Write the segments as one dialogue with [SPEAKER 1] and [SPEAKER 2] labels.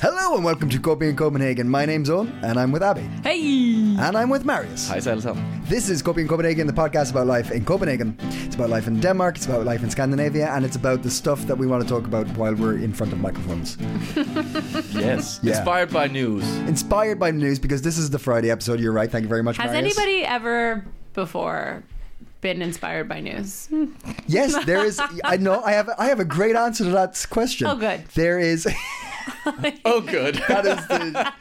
[SPEAKER 1] Hello and welcome to Copy in Copenhagen. My name's Owen and I'm with Abby.
[SPEAKER 2] Hey!
[SPEAKER 1] And I'm with Marius.
[SPEAKER 3] Hej så alle sammen.
[SPEAKER 1] This is Copy in Copenhagen, the podcast about life in Copenhagen. It's about life in Denmark, it's about life in Scandinavia, and it's about the stuff that we want to talk about while we're in front of microphones.
[SPEAKER 3] Yes.
[SPEAKER 1] Yeah.
[SPEAKER 3] Inspired by news.
[SPEAKER 1] Inspired by the news, because this is the Friday episode, you're right. Thank you very much,
[SPEAKER 2] Has
[SPEAKER 1] Marius.
[SPEAKER 2] anybody ever before been inspired by news?
[SPEAKER 1] Yes, there is. I know. I have. I have a great answer to that question.
[SPEAKER 2] Oh, good.
[SPEAKER 1] There is.
[SPEAKER 3] Oh, good.
[SPEAKER 1] That is the.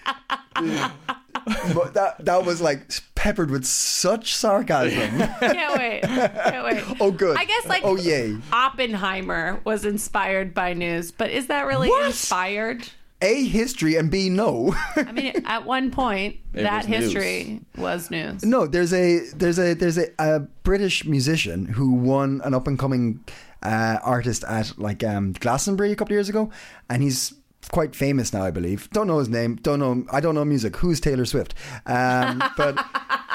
[SPEAKER 1] but that that was like peppered with such sarcasm.
[SPEAKER 2] Can't wait. Can't wait.
[SPEAKER 1] Oh, good.
[SPEAKER 2] I guess like
[SPEAKER 1] Oh, yay.
[SPEAKER 2] Oppenheimer was inspired by news, but is that really
[SPEAKER 1] What?
[SPEAKER 2] inspired?
[SPEAKER 1] A history and B no.
[SPEAKER 2] I mean, at one point, that
[SPEAKER 3] was
[SPEAKER 2] history was news.
[SPEAKER 1] No, there's a there's a there's a, a British musician who won an up and coming uh, artist at like um, Glastonbury a couple of years ago, and he's quite famous now, I believe. Don't know his name. Don't know. I don't know music. Who's Taylor Swift? Um, but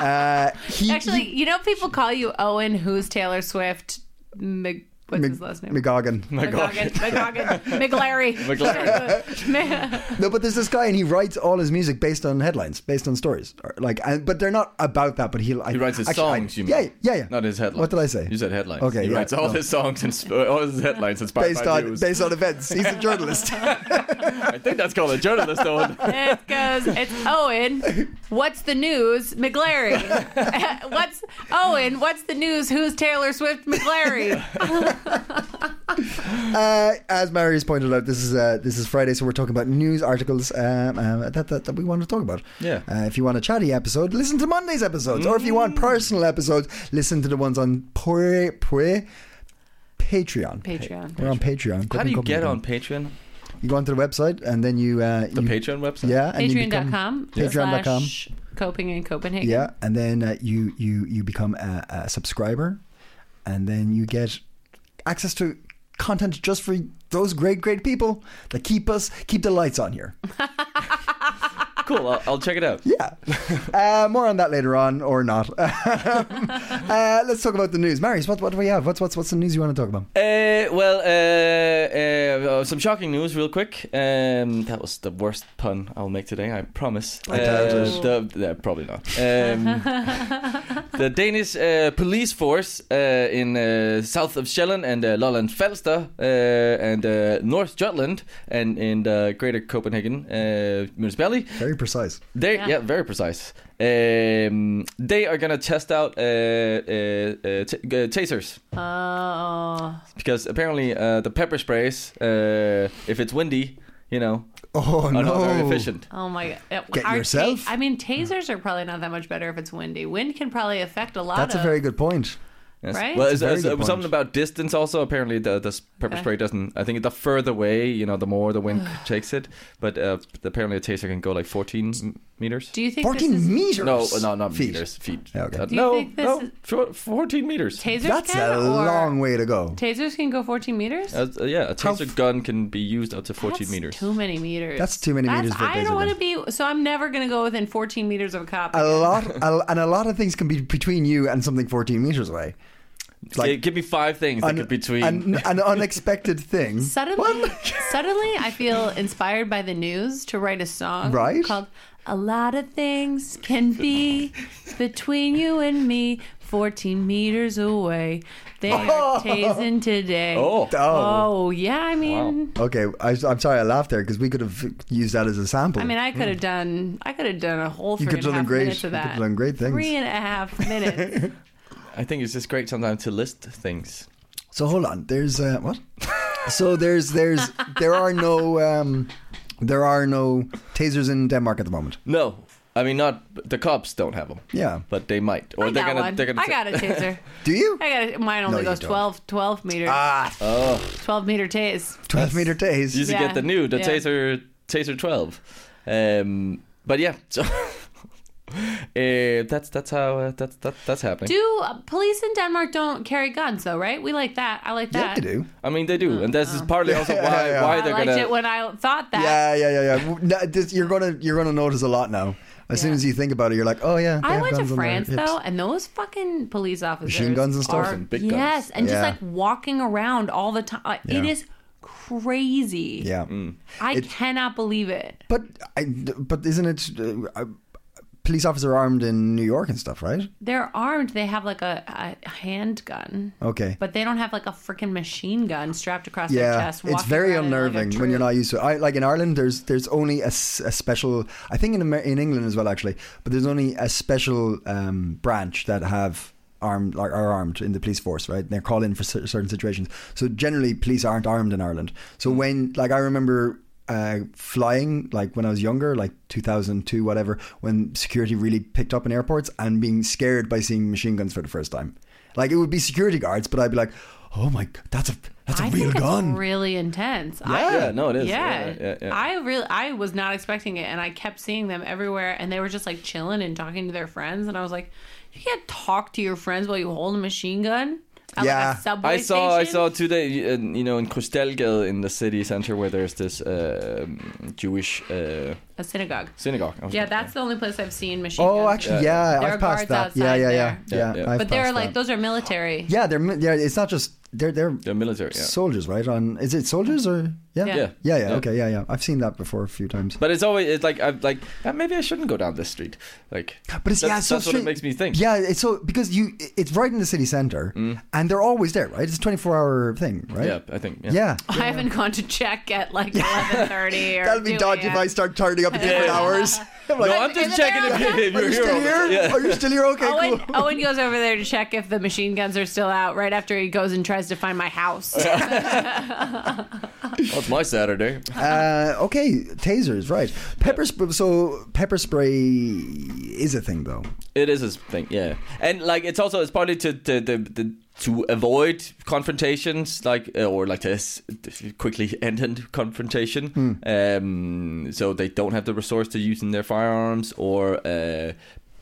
[SPEAKER 1] uh, he
[SPEAKER 2] Actually,
[SPEAKER 1] he-
[SPEAKER 2] you know, people call you Owen, who's Taylor Swift, Mc, what's his last name?
[SPEAKER 1] McGogan.
[SPEAKER 2] McGoggin. McGoggin. McGlarry. McGlarry.
[SPEAKER 1] No, but there's this guy, and he writes all his music based on headlines, based on stories. Or, Like, and, but they're not about that. But he
[SPEAKER 3] He writes his
[SPEAKER 1] actually, I-
[SPEAKER 3] songs, you mean?
[SPEAKER 1] Yeah, yeah, yeah.
[SPEAKER 3] Not his headlines.
[SPEAKER 1] What did I say?
[SPEAKER 3] You said headlines.
[SPEAKER 1] Okay,
[SPEAKER 3] He
[SPEAKER 1] yeah,
[SPEAKER 3] writes all
[SPEAKER 1] no.
[SPEAKER 3] his songs and sp- all his headlines inspired
[SPEAKER 1] based
[SPEAKER 3] by
[SPEAKER 1] on
[SPEAKER 3] news.
[SPEAKER 1] based on events. He's a journalist.
[SPEAKER 3] I think that's called a journalist, though.
[SPEAKER 2] It goes, it's Owen. What's the news? McGlarry. what's Owen? What's the news? Who's Taylor Swift? McGlarry.
[SPEAKER 1] Uh, as Marius pointed out, this is uh, this is Friday, so we're talking about news articles um, um, that, that that we want to talk about.
[SPEAKER 3] Yeah. Mm.
[SPEAKER 1] Uh, if you want a chatty episode, listen to Monday's episodes, or if you want personal episodes, listen to the ones on pre, pre Patreon.
[SPEAKER 2] Patreon.
[SPEAKER 1] we're on Patreon.
[SPEAKER 3] How do you get on Patreon?
[SPEAKER 1] You go onto the website and then you uh,
[SPEAKER 3] The
[SPEAKER 1] you,
[SPEAKER 3] Patreon website?
[SPEAKER 1] Yeah. and you become-
[SPEAKER 2] Patreon.com.
[SPEAKER 1] Patreon.com.
[SPEAKER 2] slash Coping in Copenhagen.
[SPEAKER 1] Yeah, and then uh, you you you become a, a subscriber, and then you get access to content just for those great great people that keep us keep the lights on here.
[SPEAKER 3] Cool. I'll, I'll check it out.
[SPEAKER 1] Yeah, uh, more on that later on or not. uh, let's talk about the news, Marius. What what do we have? What's what's what's the news you want to talk about?
[SPEAKER 3] Uh, well, uh, uh, some shocking news, real quick. Um, that was the worst pun I'll make today. I promise.
[SPEAKER 1] I doubt
[SPEAKER 3] Uh,
[SPEAKER 1] it.
[SPEAKER 3] the- yeah, probably not. Um, the Danish uh, police force uh, in uh, south of Sjælland and uh, Lolland Falster uh, and uh, North Jutland and in the Greater Copenhagen uh, municipality
[SPEAKER 1] Very precise.
[SPEAKER 3] they
[SPEAKER 2] Yeah.
[SPEAKER 3] yeah. very precise. Um, they are gonna test out uh, uh, uh, t- uh, tasers
[SPEAKER 2] Oh.
[SPEAKER 3] because apparently uh, the pepper sprays, uh, if it's windy, you know,
[SPEAKER 1] Oh
[SPEAKER 3] are
[SPEAKER 1] no!
[SPEAKER 3] not very efficient.
[SPEAKER 2] Oh my god!
[SPEAKER 1] Get
[SPEAKER 2] Our
[SPEAKER 1] yourself.
[SPEAKER 2] I mean, tasers are probably not that much better if it's windy. Wind can probably affect a lot.
[SPEAKER 1] That's
[SPEAKER 2] of,
[SPEAKER 1] a very good point.
[SPEAKER 3] Yes.
[SPEAKER 2] Right?
[SPEAKER 3] Well,
[SPEAKER 2] That's
[SPEAKER 3] it's,
[SPEAKER 1] a very
[SPEAKER 3] it's,
[SPEAKER 1] good
[SPEAKER 3] uh,
[SPEAKER 1] point.
[SPEAKER 3] something about distance also. Apparently, the, the s- pepper
[SPEAKER 2] Okay.
[SPEAKER 3] spray doesn't. I think the further away, you know, the more the wind takes it. But uh, apparently, a taser can go like 14 m- meters.
[SPEAKER 2] Do you think
[SPEAKER 1] Fourteen
[SPEAKER 2] this is,
[SPEAKER 1] meters.
[SPEAKER 3] No, no, not
[SPEAKER 1] Feet.
[SPEAKER 3] meters. Feet.
[SPEAKER 1] Yeah, okay.
[SPEAKER 3] Uh,
[SPEAKER 2] you
[SPEAKER 3] no,
[SPEAKER 2] think this
[SPEAKER 3] no,
[SPEAKER 2] is-
[SPEAKER 3] four- 14 meters.
[SPEAKER 2] tasers
[SPEAKER 1] That's
[SPEAKER 2] can
[SPEAKER 1] a
[SPEAKER 2] or
[SPEAKER 1] long way to go.
[SPEAKER 2] Tasers can go 14 meters.
[SPEAKER 3] Uh, yeah, a
[SPEAKER 1] How
[SPEAKER 3] taser
[SPEAKER 1] f-
[SPEAKER 3] gun can be used up to 14
[SPEAKER 2] That's
[SPEAKER 3] meters.
[SPEAKER 2] Too many meters.
[SPEAKER 1] That's too many meters for a
[SPEAKER 2] I
[SPEAKER 1] taser
[SPEAKER 2] don't want to be. So I'm never going to go within 14 meters of a cop.
[SPEAKER 1] A lot, a, and a lot of things can be between you and something 14 meters away. It's
[SPEAKER 3] Yeah, give me five things that
[SPEAKER 1] an-
[SPEAKER 3] could between.
[SPEAKER 1] an, an unexpected thing.
[SPEAKER 2] Suddenly, suddenly, I feel inspired by the news to write a song
[SPEAKER 1] Right?
[SPEAKER 2] called "A Lot of Things Can Be Between You and Me." 14 meters away. They are tasing today.
[SPEAKER 3] oh,
[SPEAKER 1] Oh.
[SPEAKER 2] Oh, yeah, I mean,
[SPEAKER 1] Okay, I, am sorry I laughed there because we could have used that as a sample.
[SPEAKER 2] I mean, I could have done, I could have done a whole three
[SPEAKER 1] could have
[SPEAKER 2] and a
[SPEAKER 1] done
[SPEAKER 2] half
[SPEAKER 1] great-
[SPEAKER 2] minutes of
[SPEAKER 1] Hmm. you could
[SPEAKER 2] that.
[SPEAKER 1] have done great things.
[SPEAKER 2] Three and a half minutes.
[SPEAKER 3] I think it's just great sometimes to list things.
[SPEAKER 1] so hold on. There's uh, what? so there's there's there are no um, there are no tasers in Denmark at the moment.
[SPEAKER 3] No, I mean not the cops don't have them.
[SPEAKER 1] Yeah.
[SPEAKER 3] but they might, or
[SPEAKER 2] I
[SPEAKER 3] they're
[SPEAKER 2] got
[SPEAKER 3] gonna.
[SPEAKER 2] one.
[SPEAKER 3] They're gonna
[SPEAKER 2] I got a taser.
[SPEAKER 1] Do you?
[SPEAKER 2] I got it. Mine only
[SPEAKER 1] you
[SPEAKER 2] goes
[SPEAKER 1] don't.
[SPEAKER 2] 12, 12 meters.
[SPEAKER 1] Ah,
[SPEAKER 2] 12 meter tase.
[SPEAKER 1] 12 meter tase.
[SPEAKER 3] You used
[SPEAKER 2] Yeah,
[SPEAKER 3] to get the new the
[SPEAKER 2] yeah.
[SPEAKER 3] taser taser twelve, um, but yeah. So Uh, that's that's how uh, that's that, that's happening.
[SPEAKER 2] Do uh, police in Denmark don't carry guns though, right? We like that. I like
[SPEAKER 1] Yeah,
[SPEAKER 2] that.
[SPEAKER 1] they do.
[SPEAKER 3] I mean, they do, and this is partly also
[SPEAKER 1] Yeah,
[SPEAKER 3] why
[SPEAKER 1] yeah.
[SPEAKER 3] why
[SPEAKER 2] uh, I
[SPEAKER 3] they're
[SPEAKER 2] liked
[SPEAKER 3] gonna.
[SPEAKER 2] it when I thought that.
[SPEAKER 1] Yeah, yeah, yeah, yeah. No, this, you're gonna you're gonna notice a lot now. As soon
[SPEAKER 2] Yeah.
[SPEAKER 1] as you think about it, you're like, oh yeah. they
[SPEAKER 2] I
[SPEAKER 1] have
[SPEAKER 2] went to
[SPEAKER 1] guns on their
[SPEAKER 2] France
[SPEAKER 1] hips.
[SPEAKER 2] though, and those fucking police officers,
[SPEAKER 1] Machine guns and stuff?
[SPEAKER 2] are-
[SPEAKER 1] And
[SPEAKER 3] big guns.
[SPEAKER 2] yes, and just
[SPEAKER 1] Yeah.
[SPEAKER 2] like walking around all the time. It
[SPEAKER 1] Yeah.
[SPEAKER 2] is crazy.
[SPEAKER 1] Yeah,
[SPEAKER 3] Mm.
[SPEAKER 2] I cannot believe it.
[SPEAKER 1] but I, but isn't it? Uh, a police officer armed in New York and stuff, right?
[SPEAKER 2] They're armed. They have like a, a handgun,
[SPEAKER 1] Okay.
[SPEAKER 2] but they don't have like a freaking machine gun strapped across their
[SPEAKER 1] yeah,
[SPEAKER 2] chest.
[SPEAKER 1] it's
[SPEAKER 2] walking
[SPEAKER 1] very
[SPEAKER 2] around in, like, a
[SPEAKER 1] unnerving when you're
[SPEAKER 2] troop.
[SPEAKER 1] not used to it. I, like in Ireland, there's there's only a, s- a special. I think in Amer- in England as well, actually, but there's only a special um, branch that have armed like are armed in the police force, right? They're called in for cer- certain situations. So generally, police aren't armed in Ireland. So
[SPEAKER 2] Hmm.
[SPEAKER 1] when like I remember. Uh, flying like when I was younger, like 2002, whatever, when security really picked up in airports and being scared by seeing machine guns for the first time. Like it would be security guards, but I'd be like, "Oh my, g- that's a that's a
[SPEAKER 2] I
[SPEAKER 1] real
[SPEAKER 2] think
[SPEAKER 1] gun."
[SPEAKER 2] It's really intense. Yeah,
[SPEAKER 3] Yeah, no, it is.
[SPEAKER 2] Yeah.
[SPEAKER 3] Yeah, yeah, yeah.
[SPEAKER 2] I really, I was not expecting it, and I kept seeing them everywhere, and they were just like chilling and talking to their friends, and I was like, you can't talk to your friends while you hold a machine gun. At
[SPEAKER 1] Yeah.
[SPEAKER 2] like a subway
[SPEAKER 3] I saw I
[SPEAKER 2] station?
[SPEAKER 3] saw today uh, you know in Krystalgade in the city center where there's this um Jewish uh,
[SPEAKER 2] a synagogue.
[SPEAKER 3] synagogue. I was
[SPEAKER 2] Yeah,
[SPEAKER 3] like,
[SPEAKER 2] that's the only place I've seen machine
[SPEAKER 1] Oh,
[SPEAKER 2] guns.
[SPEAKER 1] actually,
[SPEAKER 3] Yeah.
[SPEAKER 1] yeah,
[SPEAKER 2] There are
[SPEAKER 1] I've passed
[SPEAKER 2] guards
[SPEAKER 1] that. Yeah,
[SPEAKER 2] outside
[SPEAKER 1] yeah, yeah,
[SPEAKER 2] there.
[SPEAKER 1] yeah.
[SPEAKER 3] Yeah, yeah.
[SPEAKER 1] I've
[SPEAKER 2] but they're
[SPEAKER 1] passed
[SPEAKER 2] like
[SPEAKER 1] that.
[SPEAKER 2] those are military.
[SPEAKER 1] Yeah, they're mi- yeah. It's not just they're they're
[SPEAKER 3] They're military. Yeah.
[SPEAKER 1] soldiers, right? On is it soldiers or yeah,
[SPEAKER 2] Yeah.
[SPEAKER 1] yeah, yeah?
[SPEAKER 3] Yeah. Yeah.
[SPEAKER 1] Okay, yeah, yeah. I've seen that before a few times.
[SPEAKER 3] But it's always it's like I'm like "Ah, maybe I shouldn't go down this street. Like,
[SPEAKER 1] But it's
[SPEAKER 3] that's,
[SPEAKER 1] yeah, it's so
[SPEAKER 3] that's what it
[SPEAKER 1] strange.
[SPEAKER 3] makes me think. Mm.
[SPEAKER 1] Yeah, it's so because you it's right in the city center, and they're always there, right? It's a twenty four hour thing, right?
[SPEAKER 3] yeah, I think. Yeah,
[SPEAKER 1] Yeah.
[SPEAKER 2] I haven't gone to check at like eleven thirty or.
[SPEAKER 1] That'd be
[SPEAKER 2] 2
[SPEAKER 1] dodgy if
[SPEAKER 2] a.m.
[SPEAKER 1] I start turning up at different hours. I'm like,
[SPEAKER 3] No, I'm just
[SPEAKER 2] Isn't
[SPEAKER 3] checking
[SPEAKER 2] there
[SPEAKER 3] if,
[SPEAKER 2] a-
[SPEAKER 3] if
[SPEAKER 1] are
[SPEAKER 3] you're
[SPEAKER 1] you still here?
[SPEAKER 3] Yeah.
[SPEAKER 1] Are you still here? Okay,
[SPEAKER 2] Owen,
[SPEAKER 1] cool.
[SPEAKER 2] Owen goes over there to check if the machine guns are still out right after he goes and tries to find my house.
[SPEAKER 3] That's my Saturday.
[SPEAKER 1] Uh, okay, tasers, right? Pepper spray. So pepper spray is a thing, though.
[SPEAKER 3] It is his thing, yeah, and like it's also it's partly to to the, the to avoid confrontations, like uh, or like to s- quickly end in confrontation.
[SPEAKER 1] Hmm.
[SPEAKER 3] Um, so they don't have the resource to using their firearms or uh,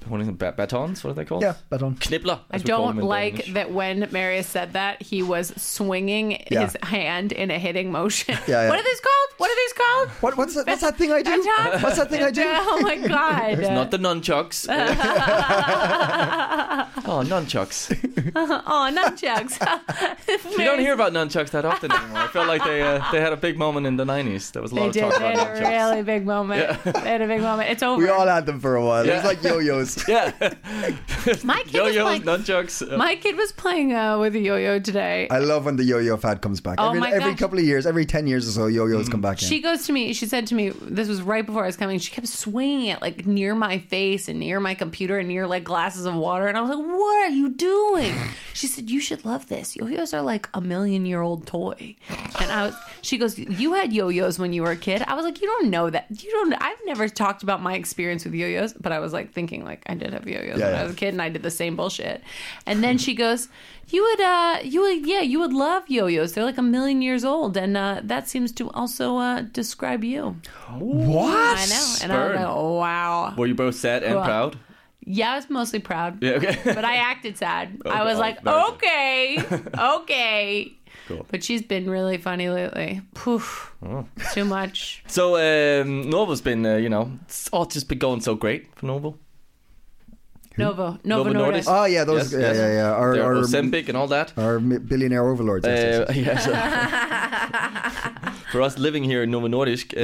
[SPEAKER 3] what is it, ba- batons? What are they called?
[SPEAKER 1] Yeah, but on.
[SPEAKER 3] knibler.
[SPEAKER 2] I
[SPEAKER 3] as we call them
[SPEAKER 2] don't
[SPEAKER 3] in
[SPEAKER 2] like
[SPEAKER 3] Danish.
[SPEAKER 2] that when Marius said that, he was swinging
[SPEAKER 1] Yeah.
[SPEAKER 2] his hand in a hitting motion.
[SPEAKER 1] Yeah, yeah.
[SPEAKER 2] What are these called? What are these called?
[SPEAKER 1] What, what's that? What's that thing I do?
[SPEAKER 2] Baton?
[SPEAKER 1] What's that thing I do?
[SPEAKER 2] Oh my God.
[SPEAKER 3] Not the nunchucks. oh, nunchucks!
[SPEAKER 2] oh, nunchucks.
[SPEAKER 3] You don't hear about nunchucks that often anymore. I feel like they uh, they had a big moment in the '90s. There was a lot
[SPEAKER 2] They
[SPEAKER 3] of
[SPEAKER 2] did.
[SPEAKER 3] talk
[SPEAKER 2] They
[SPEAKER 3] about
[SPEAKER 2] had a
[SPEAKER 3] nunchucks.
[SPEAKER 2] really big moment. They had a big moment. It's over.
[SPEAKER 1] We all had them for a while. It was
[SPEAKER 3] Yeah.
[SPEAKER 1] like yo-yos.
[SPEAKER 3] Yeah,
[SPEAKER 2] my kid was
[SPEAKER 3] yo-yos,
[SPEAKER 2] playing.
[SPEAKER 3] nunchucks. uh,
[SPEAKER 2] my kid was playing uh, with a yo-yo today.
[SPEAKER 1] I love when the yo-yo fad comes back.
[SPEAKER 2] Oh
[SPEAKER 1] every
[SPEAKER 2] my
[SPEAKER 1] every
[SPEAKER 2] gosh. Mm.
[SPEAKER 1] couple of years, every ten years or so, yo-yos come back in.
[SPEAKER 2] She goes to me. She said to me, "This was right before I was coming." She kept swinging it like near my face and near my computer and near like glasses of water, and I was like, "What are you doing?" She said, "You should love this. Yo-yos are like a million-year-old toy." And I was. She goes, "You had yo-yos when you were a kid." I was like, "You don't know that. You don't. I've never talked about my experience with yo-yos, but I was like thinking like I did have yo-yos
[SPEAKER 1] Yeah,
[SPEAKER 2] when
[SPEAKER 1] yeah.
[SPEAKER 2] I was a kid, and I did the same bullshit." And then she goes. You would, uh, you would, yeah, you would love yo-yos. They're like a million years old, and uh, that seems to also uh, describe you.
[SPEAKER 1] what?
[SPEAKER 2] I know, and I was
[SPEAKER 3] Burn.
[SPEAKER 2] like, oh, wow.
[SPEAKER 3] Were you both sad and
[SPEAKER 2] Cool.
[SPEAKER 3] proud?
[SPEAKER 2] Yeah, I was mostly proud,
[SPEAKER 3] Yeah, okay.
[SPEAKER 2] but I acted sad. I was
[SPEAKER 3] oh,
[SPEAKER 2] like,
[SPEAKER 3] very good.
[SPEAKER 2] okay, okay.
[SPEAKER 3] Cool.
[SPEAKER 2] But she's been really funny lately. Poof, too much.
[SPEAKER 3] so um, Novo's been, uh, you know, it's all just been going so great for Novo.
[SPEAKER 2] Novo, Novo,
[SPEAKER 3] Novo
[SPEAKER 2] Nordisk.
[SPEAKER 3] Nordisk? Uh,
[SPEAKER 1] Oh yeah, those.
[SPEAKER 3] Yes,
[SPEAKER 1] yeah,
[SPEAKER 3] yes.
[SPEAKER 1] yeah, yeah. Our,
[SPEAKER 3] Their
[SPEAKER 1] our,
[SPEAKER 3] Ozempic and all that.
[SPEAKER 1] our mi- billionaire overlords. yes, yes, yes.
[SPEAKER 3] Uh, yeah, so- for us living here in Novo Nordisk, uh,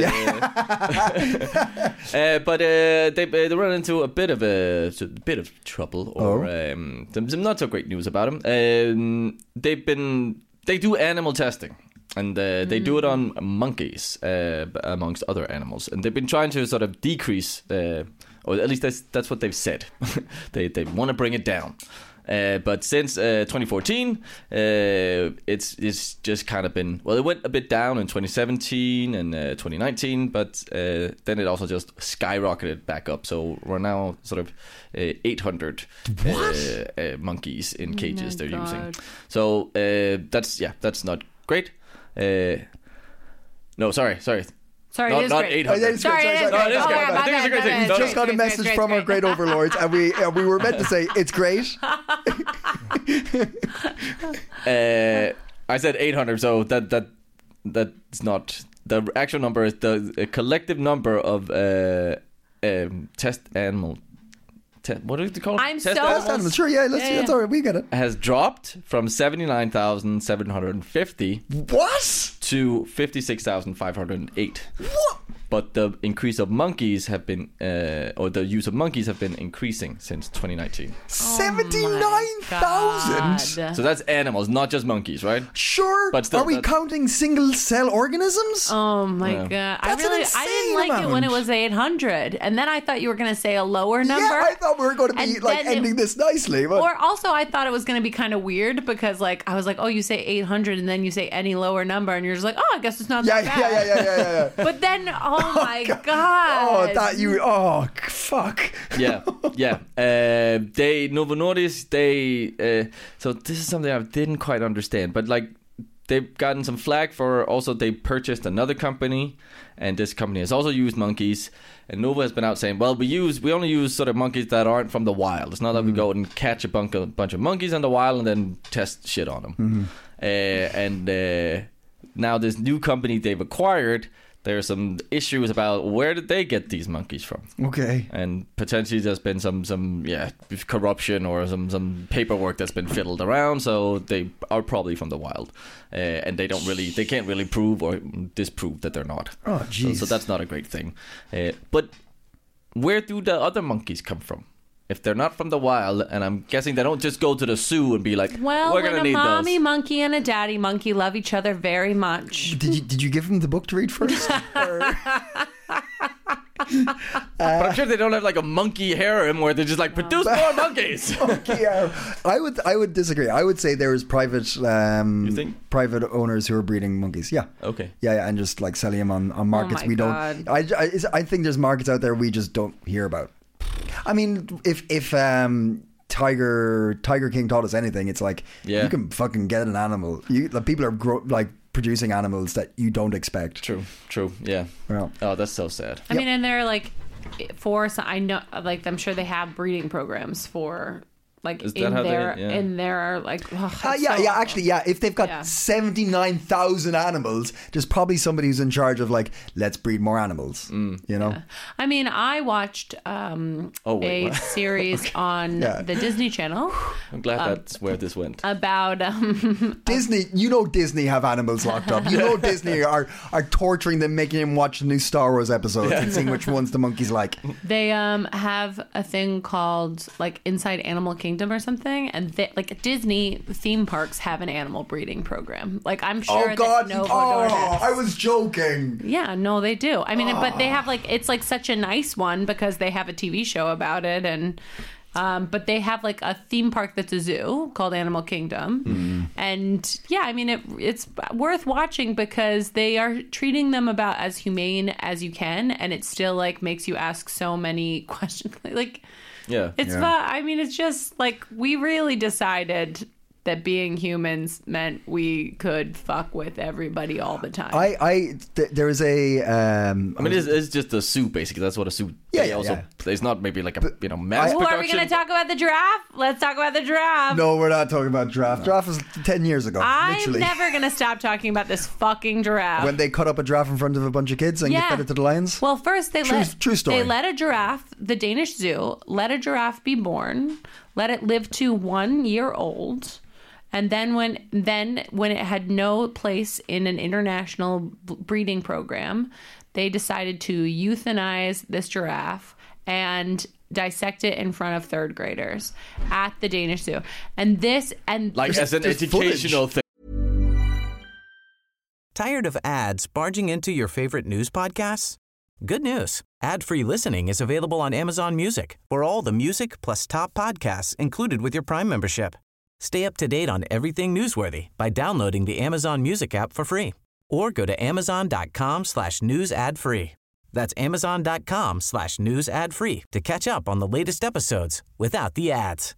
[SPEAKER 3] uh, but uh, they they run into a bit of a, a bit of trouble or um, some, some not so great news about them. Um, they've been they do animal testing. And uh, they do it on monkeys, uh, b- amongst other animals, and they've been trying to sort of decrease, uh, or at least that's that's what they've said. they they want to bring it down. Uh, but since uh, 2014, uh, it's it's just kind of been well. It went a bit down in 2017 and uh, 2019, but uh, then it also just skyrocketed back up. So we're now sort of uh, 800 uh, uh, monkeys in cages
[SPEAKER 2] Oh my
[SPEAKER 3] they're using.
[SPEAKER 2] God.
[SPEAKER 3] So uh, that's yeah, that's not great. Uh, no, sorry, sorry.
[SPEAKER 2] Sorry,
[SPEAKER 3] Not-
[SPEAKER 2] it is
[SPEAKER 3] not
[SPEAKER 2] great.
[SPEAKER 3] 800.
[SPEAKER 1] Oh, it is
[SPEAKER 2] Sorry,
[SPEAKER 1] great.
[SPEAKER 2] it is
[SPEAKER 1] Sorry, sorry. No,
[SPEAKER 2] great.
[SPEAKER 1] it is
[SPEAKER 2] Oh,
[SPEAKER 1] great.
[SPEAKER 2] yeah, my
[SPEAKER 3] I think it's a
[SPEAKER 2] bad,
[SPEAKER 3] great
[SPEAKER 2] my
[SPEAKER 3] thing.
[SPEAKER 2] bad.
[SPEAKER 3] It's
[SPEAKER 1] just got a
[SPEAKER 2] Great,
[SPEAKER 1] message
[SPEAKER 2] great,
[SPEAKER 1] from our
[SPEAKER 2] great.
[SPEAKER 1] great overlords, and we uh, we were meant to say it's great.
[SPEAKER 3] Uh, I said 800, so that that that's not the actual number. Is the uh, collective number of uh, um, test animal. Te- what do they call? it?
[SPEAKER 2] I'm
[SPEAKER 3] test
[SPEAKER 2] so-
[SPEAKER 1] That's animal. Sure, yeah, let's
[SPEAKER 2] Yeah,
[SPEAKER 1] see.
[SPEAKER 2] yeah.
[SPEAKER 1] That's all right. We get it.
[SPEAKER 3] has dropped from 79,750
[SPEAKER 1] What?
[SPEAKER 3] to 56,508.
[SPEAKER 1] What?
[SPEAKER 3] But the increase of monkeys have been, uh, or the use of monkeys have been increasing since 2019.
[SPEAKER 1] Seventy nine thousand.
[SPEAKER 2] God.
[SPEAKER 3] So that's animals, not just monkeys, right?
[SPEAKER 1] Sure.
[SPEAKER 3] But still,
[SPEAKER 1] are we
[SPEAKER 3] that-
[SPEAKER 1] counting single cell organisms?
[SPEAKER 2] Oh my
[SPEAKER 3] Yeah.
[SPEAKER 2] god!
[SPEAKER 1] That's
[SPEAKER 2] I
[SPEAKER 1] an
[SPEAKER 2] really, I didn't
[SPEAKER 1] insane
[SPEAKER 2] like it when it
[SPEAKER 1] amount.
[SPEAKER 2] was 800, and then I thought you were going to say a lower number.
[SPEAKER 1] yeah, I thought we were going to be
[SPEAKER 2] And
[SPEAKER 1] like
[SPEAKER 2] then it-
[SPEAKER 1] ending this nicely, but
[SPEAKER 2] or also, I thought it was going to be kind of weird because, like, I was like, "Oh, you say 800, and then you say any lower number, and you're just like, oh, I guess it's not
[SPEAKER 1] yeah,
[SPEAKER 2] that bad."
[SPEAKER 1] yeah, yeah, yeah, yeah, yeah. yeah.
[SPEAKER 2] But then, oh my god!
[SPEAKER 1] Oh, that you. Oh, c- fuck.
[SPEAKER 3] yeah, yeah. Uh, they Novo Nordisk. They uh, so this is something I didn't quite understand, but like they've gotten some flack for also they purchased another company, and this company has also used monkeys. And Novo has been out saying, well, we use we only use sort of monkeys that aren't from the wild. It's not that we go and catch a bunch of, bunch of monkeys in the wild and then test shit on them. Uh, and uh, now this new company they've acquired. There are some issues about where did they get these monkeys from?
[SPEAKER 1] Okay.
[SPEAKER 3] and potentially there's been some some yeah corruption or some some paperwork that's been fiddled around so they are probably from the wild uh, and they don't really they can't really prove or disprove that they're not
[SPEAKER 1] Oh,
[SPEAKER 3] so,
[SPEAKER 1] jeez.
[SPEAKER 3] so that's not a great thing uh, but where do the other monkeys come from if they're not from the wild and i'm guessing they don't just go to the zoo and be like
[SPEAKER 2] Well,
[SPEAKER 3] we're
[SPEAKER 2] when
[SPEAKER 3] gonna
[SPEAKER 2] a
[SPEAKER 3] need
[SPEAKER 2] mommy
[SPEAKER 3] those
[SPEAKER 2] monkey and a daddy monkey love each other very much.
[SPEAKER 1] Did you did you give him the book to read first? Or- Uh.
[SPEAKER 3] but i'm sure they don't have like a monkey harem where they're just like produce more monkeys
[SPEAKER 1] yeah, I would I would disagree. I would say there is private um,
[SPEAKER 3] You think?
[SPEAKER 1] private owners who are breeding monkeys. Yeah.
[SPEAKER 3] okay
[SPEAKER 1] Yeah, yeah, and just like selling them on, on markets
[SPEAKER 2] Oh my
[SPEAKER 1] we don't.
[SPEAKER 2] God.
[SPEAKER 1] I, I, is- I think there's markets out there we just don't hear about. I mean, if if um, Tiger Tiger King taught us anything, it's like
[SPEAKER 3] Yeah.
[SPEAKER 1] you can fucking get an animal. You like, people are grow, like producing animals that you don't expect.
[SPEAKER 3] true true yeah
[SPEAKER 1] Well,
[SPEAKER 3] oh that's so sad
[SPEAKER 2] I mean, and they're like for some- I know, like I'm sure they have breeding programs for like
[SPEAKER 3] Is that
[SPEAKER 2] in
[SPEAKER 3] how they-
[SPEAKER 2] their
[SPEAKER 3] yeah.
[SPEAKER 2] in their like. ugh, it's
[SPEAKER 1] Ah, yeah,
[SPEAKER 2] so
[SPEAKER 1] yeah.
[SPEAKER 2] awful.
[SPEAKER 1] Actually, yeah. If they've got
[SPEAKER 2] Yeah.
[SPEAKER 1] seventy nine thousand animals, there's probably somebody who's in charge of like, let's breed more animals. You know,
[SPEAKER 2] I mean, I watched um,
[SPEAKER 3] Oh, wait,
[SPEAKER 2] a
[SPEAKER 3] what?
[SPEAKER 2] series on
[SPEAKER 1] Yeah.
[SPEAKER 2] the Disney Channel
[SPEAKER 3] i'm glad
[SPEAKER 2] Um,
[SPEAKER 3] that's where this went
[SPEAKER 2] about um,
[SPEAKER 1] Disney. You know, Disney have animals locked up. You know, Disney are are torturing them, making them watch the new Star Wars episodes and seeing which ones the monkeys like.
[SPEAKER 2] they um, have a thing called like Inside Animal Kingdom or something, and they, like Disney theme parks have an animal breeding program. Like I'm sure
[SPEAKER 1] oh God!
[SPEAKER 2] that Novo
[SPEAKER 1] oh,
[SPEAKER 2] Nordisk-
[SPEAKER 1] I was joking.
[SPEAKER 2] Yeah, no, they do. I mean, but they have like it's like such a nice one because they have a TV show about it, and um, but they have like a theme park that's a zoo called Animal Kingdom,
[SPEAKER 1] Mm-hmm.
[SPEAKER 2] and yeah, I mean it, it's worth watching because they are treating them about as humane as you can, and it still like makes you ask so many questions. Like
[SPEAKER 3] yeah
[SPEAKER 2] it's
[SPEAKER 1] Yeah.
[SPEAKER 2] fun. I mean, it's just like we really decided. That being humans meant we could fuck with everybody all the time.
[SPEAKER 1] I, I, th- there is a. Um,
[SPEAKER 3] I mean, it's, it's just a zoo, basically. That's what a zoo.
[SPEAKER 1] Yeah,
[SPEAKER 3] they
[SPEAKER 1] yeah,
[SPEAKER 3] also,
[SPEAKER 1] yeah.
[SPEAKER 3] It's not maybe like a you know mass
[SPEAKER 2] Well, are we
[SPEAKER 3] production.
[SPEAKER 2] going to talk about the giraffe? Let's talk about the giraffe.
[SPEAKER 1] no, we're not talking about draft. Draft was ten years ago.
[SPEAKER 2] I'm
[SPEAKER 1] literally.
[SPEAKER 2] never going to stop talking about this fucking giraffe.
[SPEAKER 1] when they cut up a giraffe in front of a bunch of kids and you
[SPEAKER 2] Yeah.
[SPEAKER 1] fed it to the lions.
[SPEAKER 2] well, first they
[SPEAKER 1] True-
[SPEAKER 2] let
[SPEAKER 1] true story.
[SPEAKER 2] they let a giraffe, the Danish zoo, let a giraffe be born, let it live to 1 year old. And then when then when it had no place in an international b- breeding program, they decided to euthanize this giraffe and dissect it in front of third graders at the Danish zoo. And this and
[SPEAKER 3] like as an
[SPEAKER 1] There's
[SPEAKER 3] educational thing.
[SPEAKER 4] Tired of ads barging into your favorite news podcasts? Good news. Ad-free listening is available on Amazon Music for all the music plus top podcasts included with your Prime membership. Stay up to date on everything newsworthy by downloading the Amazon Music app for free or go to amazon.com slash news ad free. That's amazon.com slash news ad free to catch up on the latest episodes without the ads.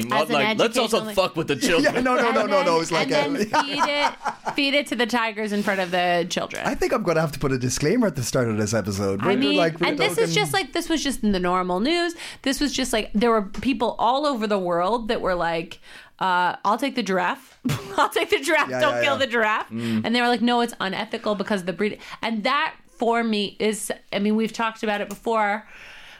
[SPEAKER 3] Not
[SPEAKER 2] an
[SPEAKER 3] like let's also
[SPEAKER 2] educational-
[SPEAKER 3] fuck with the children.
[SPEAKER 1] Yeah, no, no, no,
[SPEAKER 2] And
[SPEAKER 1] no,
[SPEAKER 2] then-
[SPEAKER 1] no. It's like
[SPEAKER 2] and
[SPEAKER 1] a,
[SPEAKER 2] then feed it, feed it to the tigers in front of the children.
[SPEAKER 1] I think I'm going to have to put a disclaimer at the start of this episode.
[SPEAKER 2] I
[SPEAKER 1] We're
[SPEAKER 2] mean,
[SPEAKER 1] like- we're
[SPEAKER 2] and this is
[SPEAKER 1] talking-
[SPEAKER 2] just like this was just in the normal news. This was just like there were people all over the world that were like, uh, "I'll take the giraffe. I'll take the giraffe.
[SPEAKER 1] Yeah,
[SPEAKER 2] Don't
[SPEAKER 1] yeah, Mm.
[SPEAKER 2] kill
[SPEAKER 1] yeah.
[SPEAKER 2] the giraffe." And they were like, "No, it's unethical because of the breed." And that for me is, I mean, we've talked about it before,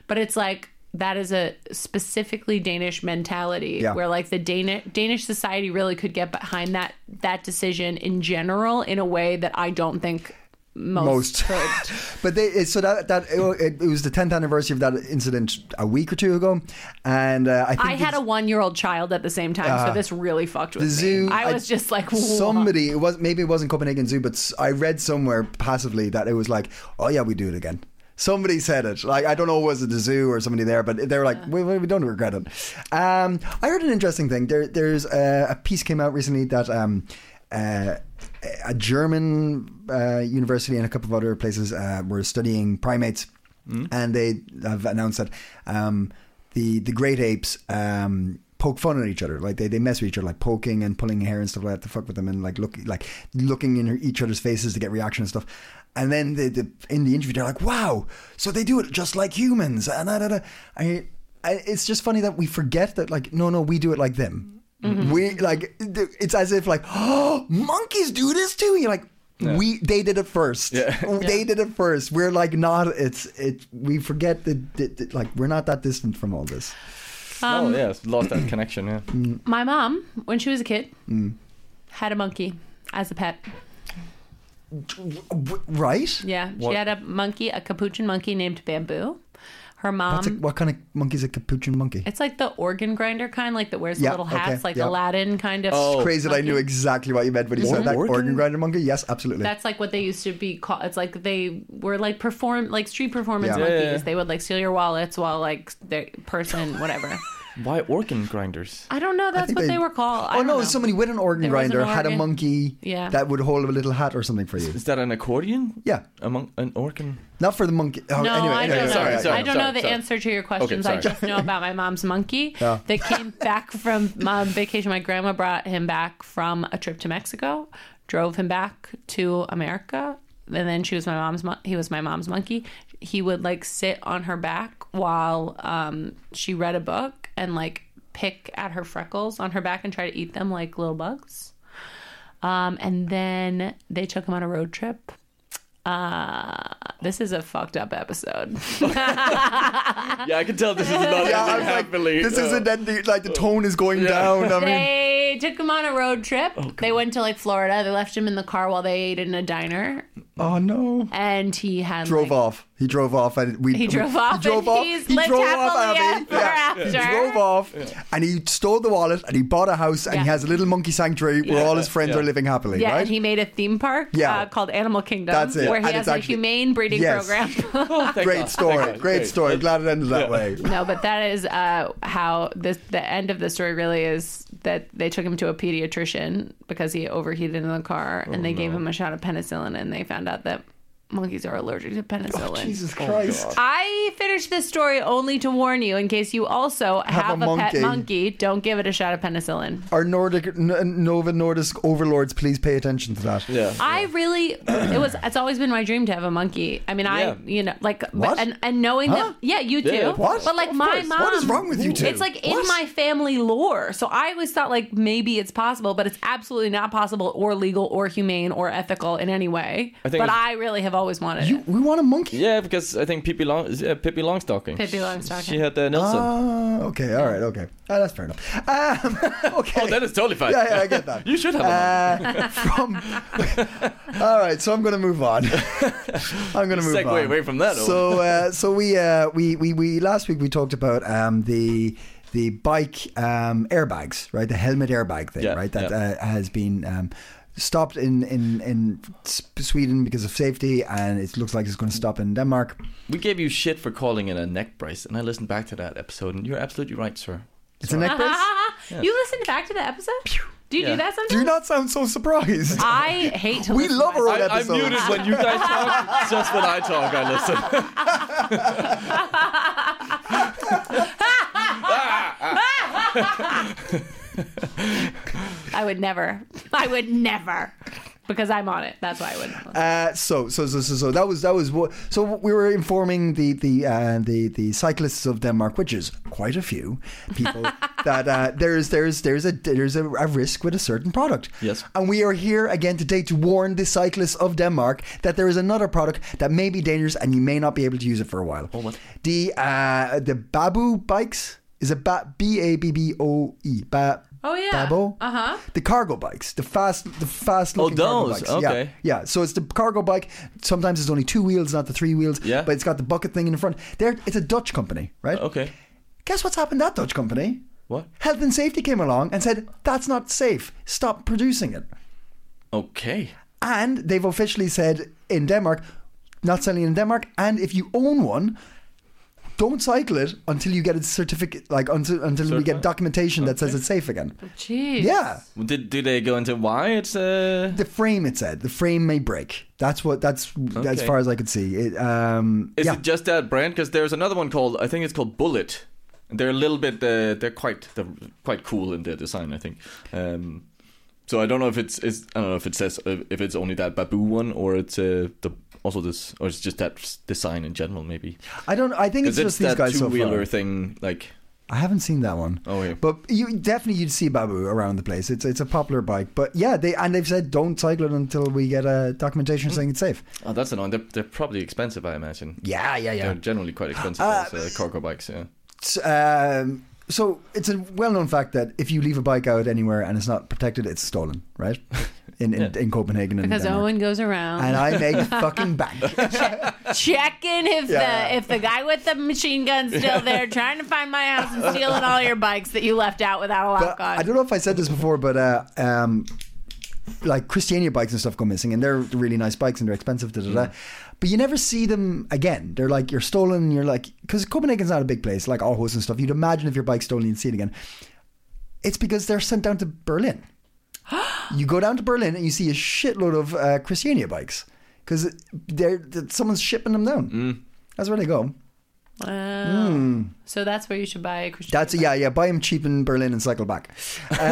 [SPEAKER 2] but it's like that is a specifically Danish mentality
[SPEAKER 1] Yeah.
[SPEAKER 2] where like the Danish Danish society really could get behind that that decision in general in a way that I don't think most,
[SPEAKER 1] Most.
[SPEAKER 2] could.
[SPEAKER 1] But they it- so that that it, it was the 10th anniversary of that incident a week or two ago, and uh, I think
[SPEAKER 2] I had
[SPEAKER 1] it's- Uh,
[SPEAKER 2] a one-year-old child at the same time, so this really fucked with
[SPEAKER 1] the zoo.
[SPEAKER 2] me. I was just like, "What?"
[SPEAKER 1] somebody. It was maybe it wasn't Copenhagen Zoo, but s- I read somewhere passively that it was like, oh yeah, we do it again. Somebody said it. Like I don't know, was it the zoo or somebody there? But they were like, we, we we don't regret it. Um, I heard an interesting thing. There, there's a, a piece came out recently that. Um, uh, a German uh, university and a couple of other places uh, were studying primates,
[SPEAKER 2] Hmm?
[SPEAKER 1] and they have announced that um, the the great apes um, poke fun at each other, like they, they mess with each other, like poking and pulling hair and stuff like that to fuck with them, and like look like looking in each other's faces to get reaction and stuff. And then they, the in the interview, they're like, "Wow, so they do it just like humans." And da, da, da. I, I, it's just funny that we forget that, like, no, no, we do it like them. We like th- it's as if like, oh, monkeys do this too. You're like, we they did it first. they did it first. We're like not. It's it. We forget that, that, that like we're not that distant from all this.
[SPEAKER 2] Um,
[SPEAKER 3] oh yes, lost that connection. Yeah.
[SPEAKER 1] Mm.
[SPEAKER 2] My mom, when she was a kid, had a monkey as a pet.
[SPEAKER 1] W- Right?
[SPEAKER 2] Yeah,
[SPEAKER 3] What-
[SPEAKER 2] she had a monkey, a capuchin monkey named Bamboo. Her
[SPEAKER 1] What's a-
[SPEAKER 2] mom.
[SPEAKER 1] what kind of monkey is a capuchin monkey?
[SPEAKER 2] Um, It's like the organ grinder kind, like that wears the
[SPEAKER 1] Yeah,
[SPEAKER 2] little
[SPEAKER 1] okay,
[SPEAKER 2] hats, like
[SPEAKER 1] yeah.
[SPEAKER 2] Aladdin kind of.
[SPEAKER 3] Oh.
[SPEAKER 1] Crazy that I knew
[SPEAKER 2] monkey.
[SPEAKER 1] exactly what you meant when you said that
[SPEAKER 3] Organ?
[SPEAKER 1] organ grinder monkey. Yes, absolutely.
[SPEAKER 2] That's like what they used to be called. It's like they were like perform, like street performance
[SPEAKER 1] Yeah. Yeah,
[SPEAKER 2] monkeys.
[SPEAKER 3] yeah, yeah.
[SPEAKER 2] They would like steal your wallets while like the person, whatever.
[SPEAKER 3] Why organ grinders?
[SPEAKER 2] I don't know. That's
[SPEAKER 1] think
[SPEAKER 2] what they, were called. I
[SPEAKER 1] Oh
[SPEAKER 2] don't
[SPEAKER 1] no!
[SPEAKER 2] know.
[SPEAKER 1] Somebody with an organ
[SPEAKER 2] There was an
[SPEAKER 1] grinder had a
[SPEAKER 2] organ.
[SPEAKER 1] monkey
[SPEAKER 2] Yeah.
[SPEAKER 1] that would hold a little hat or something for you.
[SPEAKER 3] Is that an accordion?
[SPEAKER 1] Yeah,
[SPEAKER 3] Among an organ.
[SPEAKER 1] not for the monkey. Oh,
[SPEAKER 2] No,
[SPEAKER 1] anyway,
[SPEAKER 2] I
[SPEAKER 1] anyway,
[SPEAKER 2] don't know.
[SPEAKER 3] sorry, sorry,
[SPEAKER 2] I don't know
[SPEAKER 3] sorry,
[SPEAKER 2] the
[SPEAKER 3] sorry.
[SPEAKER 2] answer to your questions. I
[SPEAKER 3] Okay, sorry.
[SPEAKER 2] just know about my mom's monkey
[SPEAKER 1] Yeah.
[SPEAKER 2] that came back from um, vacation. My grandma brought him back from a trip to Mexico, drove him back to America, and then she was my mom's. Mon- he was my mom's monkey. He would like sit on her back while um, she read a book and like pick at her freckles on her back and try to eat them like little bugs. Um, and then they took him on a road trip uh, this is a fucked up episode.
[SPEAKER 3] Yeah, I can tell this is not
[SPEAKER 1] Yeah, I
[SPEAKER 3] ending
[SPEAKER 1] was like,
[SPEAKER 3] happily.
[SPEAKER 1] this
[SPEAKER 3] Uh,
[SPEAKER 1] isn't ending. Like the tone is going down. I mean, Oh,
[SPEAKER 2] they took him on a road trip. they went to like Florida. They left him in the car while they ate in a diner,
[SPEAKER 1] oh no.
[SPEAKER 2] and he had
[SPEAKER 1] Drove
[SPEAKER 2] like,
[SPEAKER 1] off. He drove off, and we.
[SPEAKER 2] He drove off
[SPEAKER 1] He drove
[SPEAKER 2] and
[SPEAKER 1] off.
[SPEAKER 2] he's
[SPEAKER 1] he
[SPEAKER 2] lived
[SPEAKER 1] drove off,
[SPEAKER 2] happily
[SPEAKER 1] Abby.
[SPEAKER 2] ever after.
[SPEAKER 1] He drove off, and he stole the wallet, and he bought a house, and he
[SPEAKER 2] Yeah.
[SPEAKER 1] has a little monkey sanctuary where all his friends
[SPEAKER 3] Yeah.
[SPEAKER 1] are living happily.
[SPEAKER 2] Yeah,
[SPEAKER 1] right?
[SPEAKER 2] and he made a theme park
[SPEAKER 1] Yeah.
[SPEAKER 2] uh, called Animal Kingdom,
[SPEAKER 1] That's it.
[SPEAKER 2] where he
[SPEAKER 1] And
[SPEAKER 2] has
[SPEAKER 1] it's
[SPEAKER 2] a
[SPEAKER 1] actually-
[SPEAKER 2] humane breeding
[SPEAKER 1] Yes.
[SPEAKER 2] program.
[SPEAKER 3] oh, thank
[SPEAKER 1] great
[SPEAKER 3] God,
[SPEAKER 1] story.
[SPEAKER 3] thank God,
[SPEAKER 1] Great story. Glad it ended that way.
[SPEAKER 2] no, but that is uh, how this, the end of the story really is. That they took him to a pediatrician because he overheated in the car,
[SPEAKER 1] Oh,
[SPEAKER 2] and they gave him a shot of penicillin, and they found out that monkeys are allergic to penicillin.
[SPEAKER 1] Oh, Jesus Christ.
[SPEAKER 2] I finished this story only to warn you in case you also have,
[SPEAKER 1] a
[SPEAKER 2] a, pet
[SPEAKER 1] monkey.
[SPEAKER 2] monkey. Don't give it a shot of penicillin.
[SPEAKER 1] Our Nordic, N- Nova Nordisk overlords, please pay attention to that.
[SPEAKER 3] Yeah.
[SPEAKER 2] I really, it was. It's always been my dream to have a monkey. I mean, I,
[SPEAKER 3] Yeah.
[SPEAKER 2] you know, like,
[SPEAKER 1] What?
[SPEAKER 2] but, and and knowing
[SPEAKER 1] Huh?
[SPEAKER 2] that, yeah, you too.
[SPEAKER 3] Yeah, of
[SPEAKER 1] course.
[SPEAKER 2] But like
[SPEAKER 1] Of
[SPEAKER 2] my
[SPEAKER 1] course.
[SPEAKER 2] mom,
[SPEAKER 1] What is wrong with you two?
[SPEAKER 2] It's like in
[SPEAKER 1] What?
[SPEAKER 2] my family lore, so I always thought like maybe it's possible, but it's absolutely not possible or legal or humane or ethical in any way.
[SPEAKER 3] I think
[SPEAKER 2] but
[SPEAKER 3] it's-
[SPEAKER 2] I really have always wanted
[SPEAKER 1] You,
[SPEAKER 2] it.
[SPEAKER 1] we want a monkey.
[SPEAKER 3] Yeah, because I think Pippi, Long, uh, Pippi Longstocking.
[SPEAKER 2] Pippi Longstocking.
[SPEAKER 3] She had uh, Nelson.
[SPEAKER 1] Ah, okay, all right, okay. Ah, that's fair enough. Um, okay.
[SPEAKER 3] oh, that is totally fine.
[SPEAKER 1] yeah, yeah, I get that.
[SPEAKER 3] you should have a monkey.
[SPEAKER 1] Uh, from all right, so I'm gonna move on. I'm gonna move
[SPEAKER 3] Segue
[SPEAKER 1] on.
[SPEAKER 3] away from that, or-
[SPEAKER 1] So, uh, so we, uh, we we we last week we talked about um, the the bike um, airbags, right? The helmet airbag thing,
[SPEAKER 3] Yeah,
[SPEAKER 1] right? That
[SPEAKER 3] yeah.
[SPEAKER 1] uh, has been. Um, Stopped in, in, in S- Sweden because of safety, and it looks like it's going to stop in Denmark.
[SPEAKER 3] We gave you shit for calling it a neck brace, and I listened back to that episode, and you're absolutely right, sir.
[SPEAKER 1] It's a neck brace.
[SPEAKER 2] You listened back to the episode. Do you
[SPEAKER 3] Yeah.
[SPEAKER 2] do that sometimes?
[SPEAKER 1] Do not sound so surprised.
[SPEAKER 2] I hate to.
[SPEAKER 1] We
[SPEAKER 2] listen
[SPEAKER 1] love
[SPEAKER 2] to
[SPEAKER 1] her
[SPEAKER 2] myself.
[SPEAKER 1] on
[SPEAKER 3] I, I
[SPEAKER 1] episode.
[SPEAKER 3] muted when you guys talk. Just when I talk, I listen.
[SPEAKER 2] would never. I would never. Because I'm on it. That's why I would.
[SPEAKER 1] Uh, so, so, so, so, so that was that was what. So we were informing the the uh, the the cyclists of Denmark, which is quite a few people, that uh, there's there's there's a there's a, a risk with a certain product.
[SPEAKER 3] Yes.
[SPEAKER 1] And we are here again today to warn the cyclists of Denmark that there is another product that may be dangerous and you may not be able to use it for a while.
[SPEAKER 3] what?
[SPEAKER 1] The uh, the Babu bikes is a ba- B A B B O E ba.
[SPEAKER 2] Oh, yeah.
[SPEAKER 1] Babo.
[SPEAKER 2] Uh-huh.
[SPEAKER 1] The cargo bikes, the fast, the fast looking
[SPEAKER 3] Oh,
[SPEAKER 1] cargo
[SPEAKER 3] those.
[SPEAKER 1] bikes.
[SPEAKER 3] Okay.
[SPEAKER 1] Yeah. yeah. So it's the cargo bike. Sometimes it's only two wheels, not the three wheels.
[SPEAKER 3] Yeah.
[SPEAKER 1] But it's got the bucket thing in the front. There, it's a Dutch company, right?
[SPEAKER 3] Okay.
[SPEAKER 1] Guess what's happened to that Dutch company?
[SPEAKER 3] What?
[SPEAKER 1] Health and safety came along and said that's not safe. Stop producing it.
[SPEAKER 3] Okay.
[SPEAKER 1] And they've officially said in Denmark, not selling in Denmark. And if you own one, don't cycle it until you get a certificate, like until until we get
[SPEAKER 3] Certified?
[SPEAKER 1] documentation that says it's safe again.
[SPEAKER 2] Jeez.
[SPEAKER 1] Yeah.
[SPEAKER 3] Did do they go into why it's uh
[SPEAKER 1] The frame, it said. The frame may break. That's what. That's as
[SPEAKER 3] Okay.
[SPEAKER 1] far as I could see. It, um,
[SPEAKER 3] is
[SPEAKER 1] yeah.
[SPEAKER 3] it just that brand? Because there's another one called I think it's called Bullet. They're a little bit uh, they're quite they're quite cool in their design I think. Um, so I don't know if it's, it's I don't know if it says uh, if it's only that Babu one or it's uh, the also this or it's just that s- design in general maybe.
[SPEAKER 1] I don't. I think it's
[SPEAKER 3] Because it's,
[SPEAKER 1] just these
[SPEAKER 3] that
[SPEAKER 1] guys
[SPEAKER 3] two
[SPEAKER 1] so
[SPEAKER 3] wheeler
[SPEAKER 1] far.
[SPEAKER 3] thing like
[SPEAKER 1] I haven't seen that one.
[SPEAKER 3] oh yeah.
[SPEAKER 1] But you definitely you'd see Babu around the place. It's it's a popular bike. But yeah, they and they've said don't cycle it until we get a documentation saying it's safe.
[SPEAKER 3] Oh, that's annoying. They're, they're probably expensive, I imagine.
[SPEAKER 1] Yeah, yeah, yeah.
[SPEAKER 3] They're generally quite expensive,
[SPEAKER 1] Uh,
[SPEAKER 3] those, uh, cargo bikes, yeah.
[SPEAKER 1] um, so it's a well-known fact that if you leave a bike out anywhere and it's not protected, it's stolen, right? In in, in Copenhagen and
[SPEAKER 2] Because
[SPEAKER 1] Denmark.
[SPEAKER 2] Owen goes around
[SPEAKER 1] and I make fucking bank.
[SPEAKER 2] checking if
[SPEAKER 1] Yeah.
[SPEAKER 2] the if the guy with the machine gun's still there, trying to find my house and stealing all your bikes that you left out without a
[SPEAKER 1] But
[SPEAKER 2] lock on.
[SPEAKER 1] I don't know if I said this before, but uh, um, like Christiania bikes and stuff go missing, and they're really nice bikes and they're expensive, da da da. But you never see them again. They're like you're stolen. and You're like because Copenhagen's not a big place, like Aarhus and stuff. You'd imagine if your bike's stolen, you'd see it again. It's because they're sent down to Berlin. you go down to Berlin and you see a shitload of uh, Christiania bikes because they're, that someone's shipping them down. That's where they go.
[SPEAKER 2] Wow. So that's where you should buy a Christian.
[SPEAKER 1] Hmm. That's yeah, yeah. Buy them cheap in Berlin and cycle back.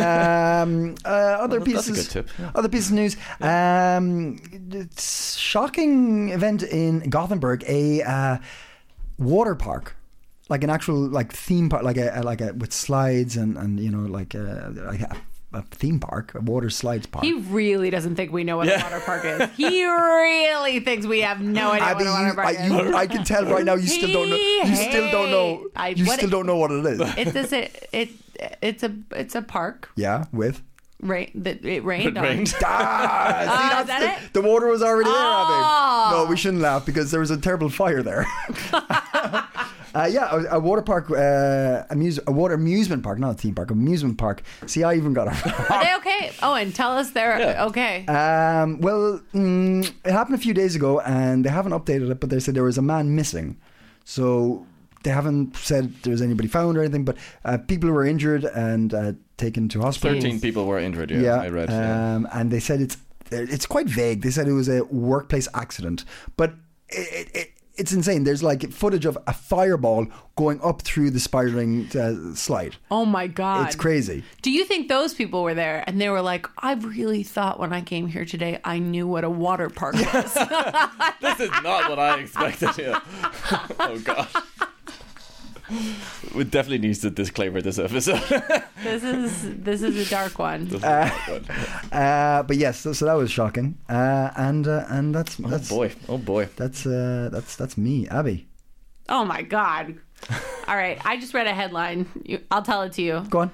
[SPEAKER 1] Um, uh, other
[SPEAKER 3] Well, that's
[SPEAKER 1] pieces,
[SPEAKER 3] a good tip, yeah.
[SPEAKER 1] other pieces of news. Um, it's shocking event in Gothenburg, a uh, water park, like an actual like theme park, like a like a with slides and and you know like a, like a, a theme park, a water slides park.
[SPEAKER 2] He really doesn't think we know what a water park is. He really thinks we have no idea
[SPEAKER 1] Abby,
[SPEAKER 2] what
[SPEAKER 1] you,
[SPEAKER 2] a water park
[SPEAKER 1] I,
[SPEAKER 2] is.
[SPEAKER 1] you, I can tell right now you still don't know. You still don't know.
[SPEAKER 2] Hey, I-
[SPEAKER 1] you
[SPEAKER 2] what-
[SPEAKER 1] still don't know what it is.
[SPEAKER 2] It's this it, it it's a it's a park
[SPEAKER 1] yeah, with.
[SPEAKER 2] right that it rained
[SPEAKER 3] It
[SPEAKER 2] on.
[SPEAKER 3] rained.
[SPEAKER 1] Ah, see,
[SPEAKER 2] Ah,
[SPEAKER 1] that's
[SPEAKER 2] is that
[SPEAKER 1] the,
[SPEAKER 2] it?
[SPEAKER 1] the water was already there,
[SPEAKER 2] Oh.
[SPEAKER 1] Abby. No, we shouldn't laugh because there was a terrible fire there. uh, yeah, a, a water park, uh, amuse, a water amusement park, not a theme park, amusement park. See, I even got it.
[SPEAKER 2] Are they okay? Owen, tell us they're
[SPEAKER 3] Yeah.
[SPEAKER 2] okay.
[SPEAKER 1] Um, well, mm, it happened a few days ago, and they haven't updated it, but they said there was a man missing. So they haven't said there's anybody found or anything, but uh, people were injured and uh, taken to hospital.
[SPEAKER 3] 13 people were injured, yeah, Uh, I read. yeah.
[SPEAKER 1] Um, and they said it's it's quite vague. They said it was a workplace accident, but it, it, it it's insane. There's like footage of a fireball going up through the spiraling uh, slide.
[SPEAKER 2] oh my god.
[SPEAKER 1] It's crazy.
[SPEAKER 2] Do you think those people were there and they were like, I really thought when I came here today I knew what a water park was?
[SPEAKER 3] This is not what I expected. Yeah. oh, gosh. We definitely needs to disclaimer this episode. Oh,
[SPEAKER 2] this is this is a dark one.
[SPEAKER 1] Uh, but yes, so, so that was shocking. Uh, and uh, and that's
[SPEAKER 3] oh,
[SPEAKER 1] that's
[SPEAKER 3] boy. Oh, boy.
[SPEAKER 1] that's uh, that's that's me, Abby.
[SPEAKER 2] Oh my god. All right, I just read a headline. You- I'll tell it to you.
[SPEAKER 1] Go on.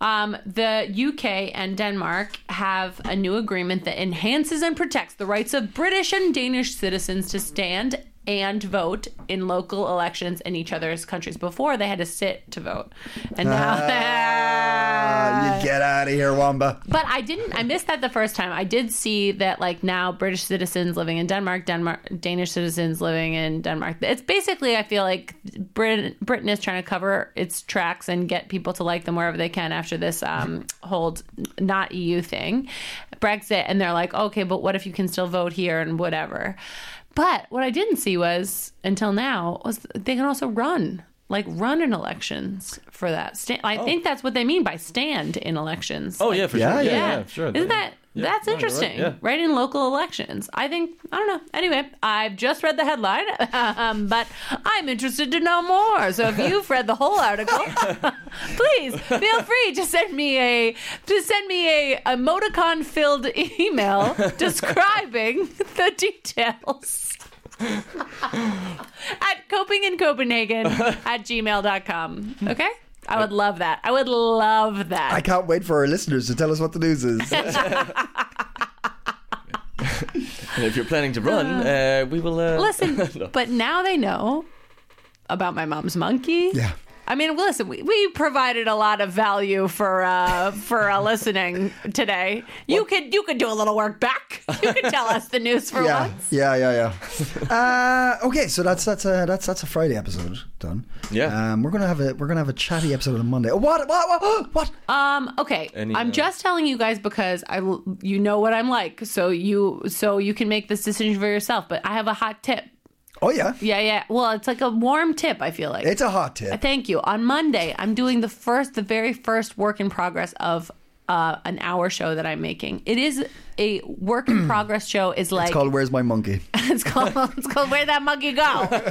[SPEAKER 2] Um, the UK and Denmark have a new agreement that enhances and protects the rights of British and Danish citizens to stand and vote in local elections in each other's countries. Before they had to sit to vote, and now. Uh,
[SPEAKER 1] Ah, you get out of here, Wamba.
[SPEAKER 2] But I didn't. I missed that the first time. I did see that like now British citizens living in Denmark, Denmark, Danish citizens living in Denmark. It's basically I feel like Britain, Britain is trying to cover its tracks and get people to like them wherever they can after this um, whole not EU thing, Brexit, and they're like, okay, but what if you can still vote here and whatever. But what I didn't see was until now was they can also run like run in elections for that. Sta- I think that's what they mean by stand in elections.
[SPEAKER 3] Oh
[SPEAKER 2] Like,
[SPEAKER 3] yeah, for
[SPEAKER 1] Yeah,
[SPEAKER 3] sure.
[SPEAKER 1] yeah.
[SPEAKER 3] Yeah, yeah, sure.
[SPEAKER 2] Isn't that
[SPEAKER 3] Yeah.
[SPEAKER 2] that's
[SPEAKER 3] No, you're right.
[SPEAKER 2] interesting?
[SPEAKER 3] Yeah.
[SPEAKER 2] right. in local elections. I think I don't know. Anyway, I've just read the headline, um, but I'm interested to know more. So if you've read the whole article, please feel free to send me a to send me a emoticon filled email describing the details. at coping in Copenhagen at gmail.com.
[SPEAKER 3] Hmm.
[SPEAKER 2] Okay? I would love that. I would love that.
[SPEAKER 1] I can't wait for our listeners to tell us what the news is.
[SPEAKER 3] And if you're planning to run, uh, we will uh,
[SPEAKER 2] Listen,
[SPEAKER 3] no.
[SPEAKER 2] but now they know about my mom's monkey.
[SPEAKER 1] Yeah.
[SPEAKER 2] I mean, listen, we, we provided a lot of value for uh, for uh, listening today. You could you could do a little work back. You could tell us the news for
[SPEAKER 1] yeah,
[SPEAKER 2] once.
[SPEAKER 1] yeah, yeah, yeah. uh, okay, so that's that's a that's that's a Friday episode done.
[SPEAKER 3] Yeah.
[SPEAKER 1] um, we're gonna have a we're gonna have a chatty episode on Monday. Oh, What? What? What? what?
[SPEAKER 2] Um, okay,
[SPEAKER 3] Any,
[SPEAKER 2] I'm
[SPEAKER 3] uh,
[SPEAKER 2] just telling you guys because I l- you know what I'm like, so you so you can make this decision for yourself. But I have a hot tip.
[SPEAKER 1] Oh yeah,
[SPEAKER 2] Yeah, yeah. Well, it's like a warm tip. I feel like
[SPEAKER 1] it's a hot tip.
[SPEAKER 2] Uh, Thank you. On Monday, I'm doing the first, the very first work in progress of uh, an hour show that I'm making. It is a work in progress show. Is like
[SPEAKER 1] It's called "Where's My Monkey."
[SPEAKER 2] it's called it's called Where That Monkey Go. but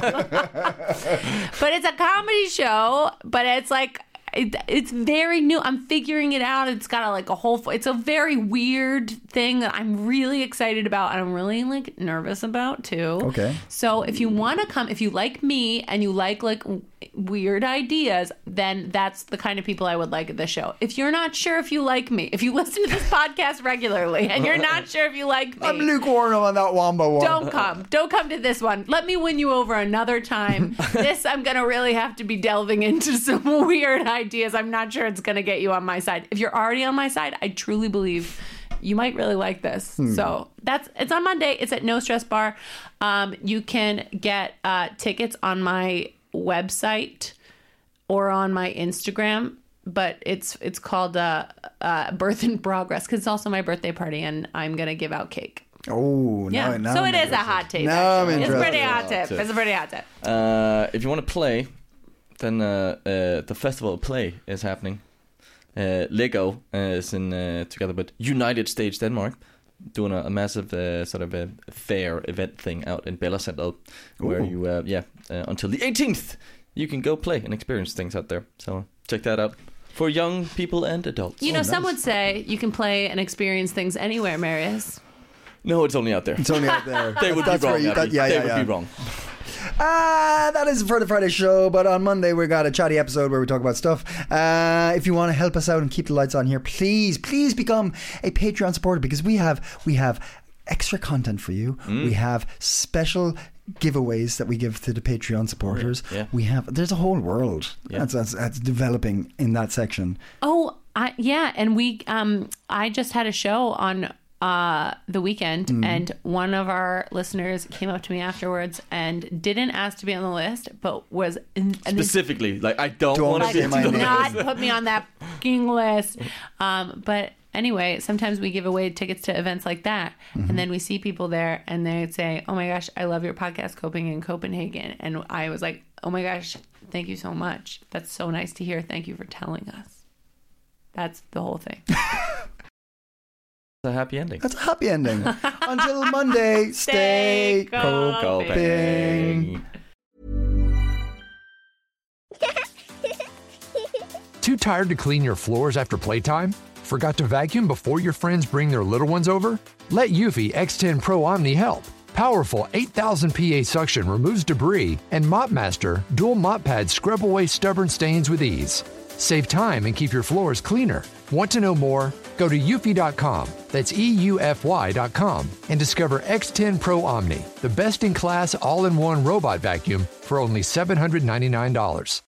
[SPEAKER 2] it's a comedy show. But it's like. It, it's very new. I'm figuring it out. It's got a, like a whole. It's a very weird thing that I'm really excited about, and I'm really like nervous about too.
[SPEAKER 1] Okay.
[SPEAKER 2] So if you want to come, if you like me and you like like w- weird ideas, then that's the kind of people I would like at the show. If you're not sure if you like me, if you listen to this podcast regularly and you're not sure if you like me,
[SPEAKER 1] I'm lukewarm on that Wamba one.
[SPEAKER 2] don't come. Don't come to this one. Let me win you over another time. this, I'm going to really have to be delving into some weird ideas. I'm not sure it's going to get you on my side. If you're already on my side, I truly believe you might really like this. So that's it's on Monday. It's at No Stress Bar. Um, you can get uh, tickets on my website or on my Instagram. But it's it's called uh, uh, Birth in Progress because it's also my birthday party and I'm gonna give out cake.
[SPEAKER 1] Oh, now,
[SPEAKER 2] Yeah.
[SPEAKER 1] now
[SPEAKER 2] so
[SPEAKER 1] I'm
[SPEAKER 2] it is a
[SPEAKER 1] interested.
[SPEAKER 2] hot tip.
[SPEAKER 1] Now I'm
[SPEAKER 2] actually. it's a
[SPEAKER 1] interested.
[SPEAKER 2] pretty hot tip.
[SPEAKER 3] tip.
[SPEAKER 2] It's a pretty hot tip.
[SPEAKER 3] Uh, if you want to play, then uh, uh, the festival of play is happening. Uh, Lego uh, is in uh, together with United States Denmark, doing a, a massive uh, sort of a fair event thing out in Bella Center, where
[SPEAKER 1] Ooh.
[SPEAKER 3] you uh, yeah uh, until the 18th you can go play and experience things out there. So check that out for young people and adults.
[SPEAKER 2] You know,
[SPEAKER 1] nice.
[SPEAKER 2] some would say you can play and experience things anywhere, Marius.
[SPEAKER 3] No, it's only out there.
[SPEAKER 1] It's only out there.
[SPEAKER 3] They would
[SPEAKER 1] That's
[SPEAKER 3] be
[SPEAKER 1] where
[SPEAKER 3] wrong.
[SPEAKER 1] you-
[SPEAKER 3] Abby.
[SPEAKER 1] that- yeah,
[SPEAKER 3] they
[SPEAKER 1] yeah,
[SPEAKER 3] would
[SPEAKER 1] yeah.
[SPEAKER 3] be wrong.
[SPEAKER 1] Ah, that is it for the Friday show. But on Monday, we got a chatty episode where we talk about stuff. Uh, if you want to help us out and keep the lights on here, please, please become a Patreon supporter because we have we have extra content for you.
[SPEAKER 3] Mm.
[SPEAKER 1] We have special giveaways that we give to the Patreon supporters.
[SPEAKER 3] Oh, yeah.
[SPEAKER 1] We have there's a whole world that's, that's that's developing in that section.
[SPEAKER 2] Oh, I, yeah, and we um I just had a show on uh the weekend
[SPEAKER 1] Mm-hmm.
[SPEAKER 2] and one of our listeners came up to me afterwards and didn't ask to be on the list but was in, an
[SPEAKER 3] Specifically, like I don't,
[SPEAKER 1] Don't
[SPEAKER 3] want
[SPEAKER 1] say
[SPEAKER 3] to be
[SPEAKER 1] my
[SPEAKER 2] do
[SPEAKER 1] name.
[SPEAKER 2] not put me on that fucking list. Um, but anyway, sometimes we give away tickets to events like that, and then we see people there, and they say, "Oh my gosh, I love your podcast, Coping in Copenhagen," and I was like, "Oh my gosh, thank you so much. That's so nice to hear. Thank you for telling us." That's the whole thing.
[SPEAKER 3] It's a happy ending.
[SPEAKER 1] That's a happy ending. Until Monday, stay,
[SPEAKER 2] Stay coping.
[SPEAKER 1] coping.
[SPEAKER 5] Too tired to clean your floors after playtime? Forgot to vacuum before your friends bring their little ones over? Let Eufy X10 Pro Omni help. Powerful 8000 PA suction removes debris, and Mop Master dual mop pads scrub away stubborn stains with ease. Save time and keep your floors cleaner. Want to know more? Go to eufy.com, that's E E-U-F-Y.com, and discover X10 Pro Omni, the best-in-class all-in-one robot vacuum for only $799.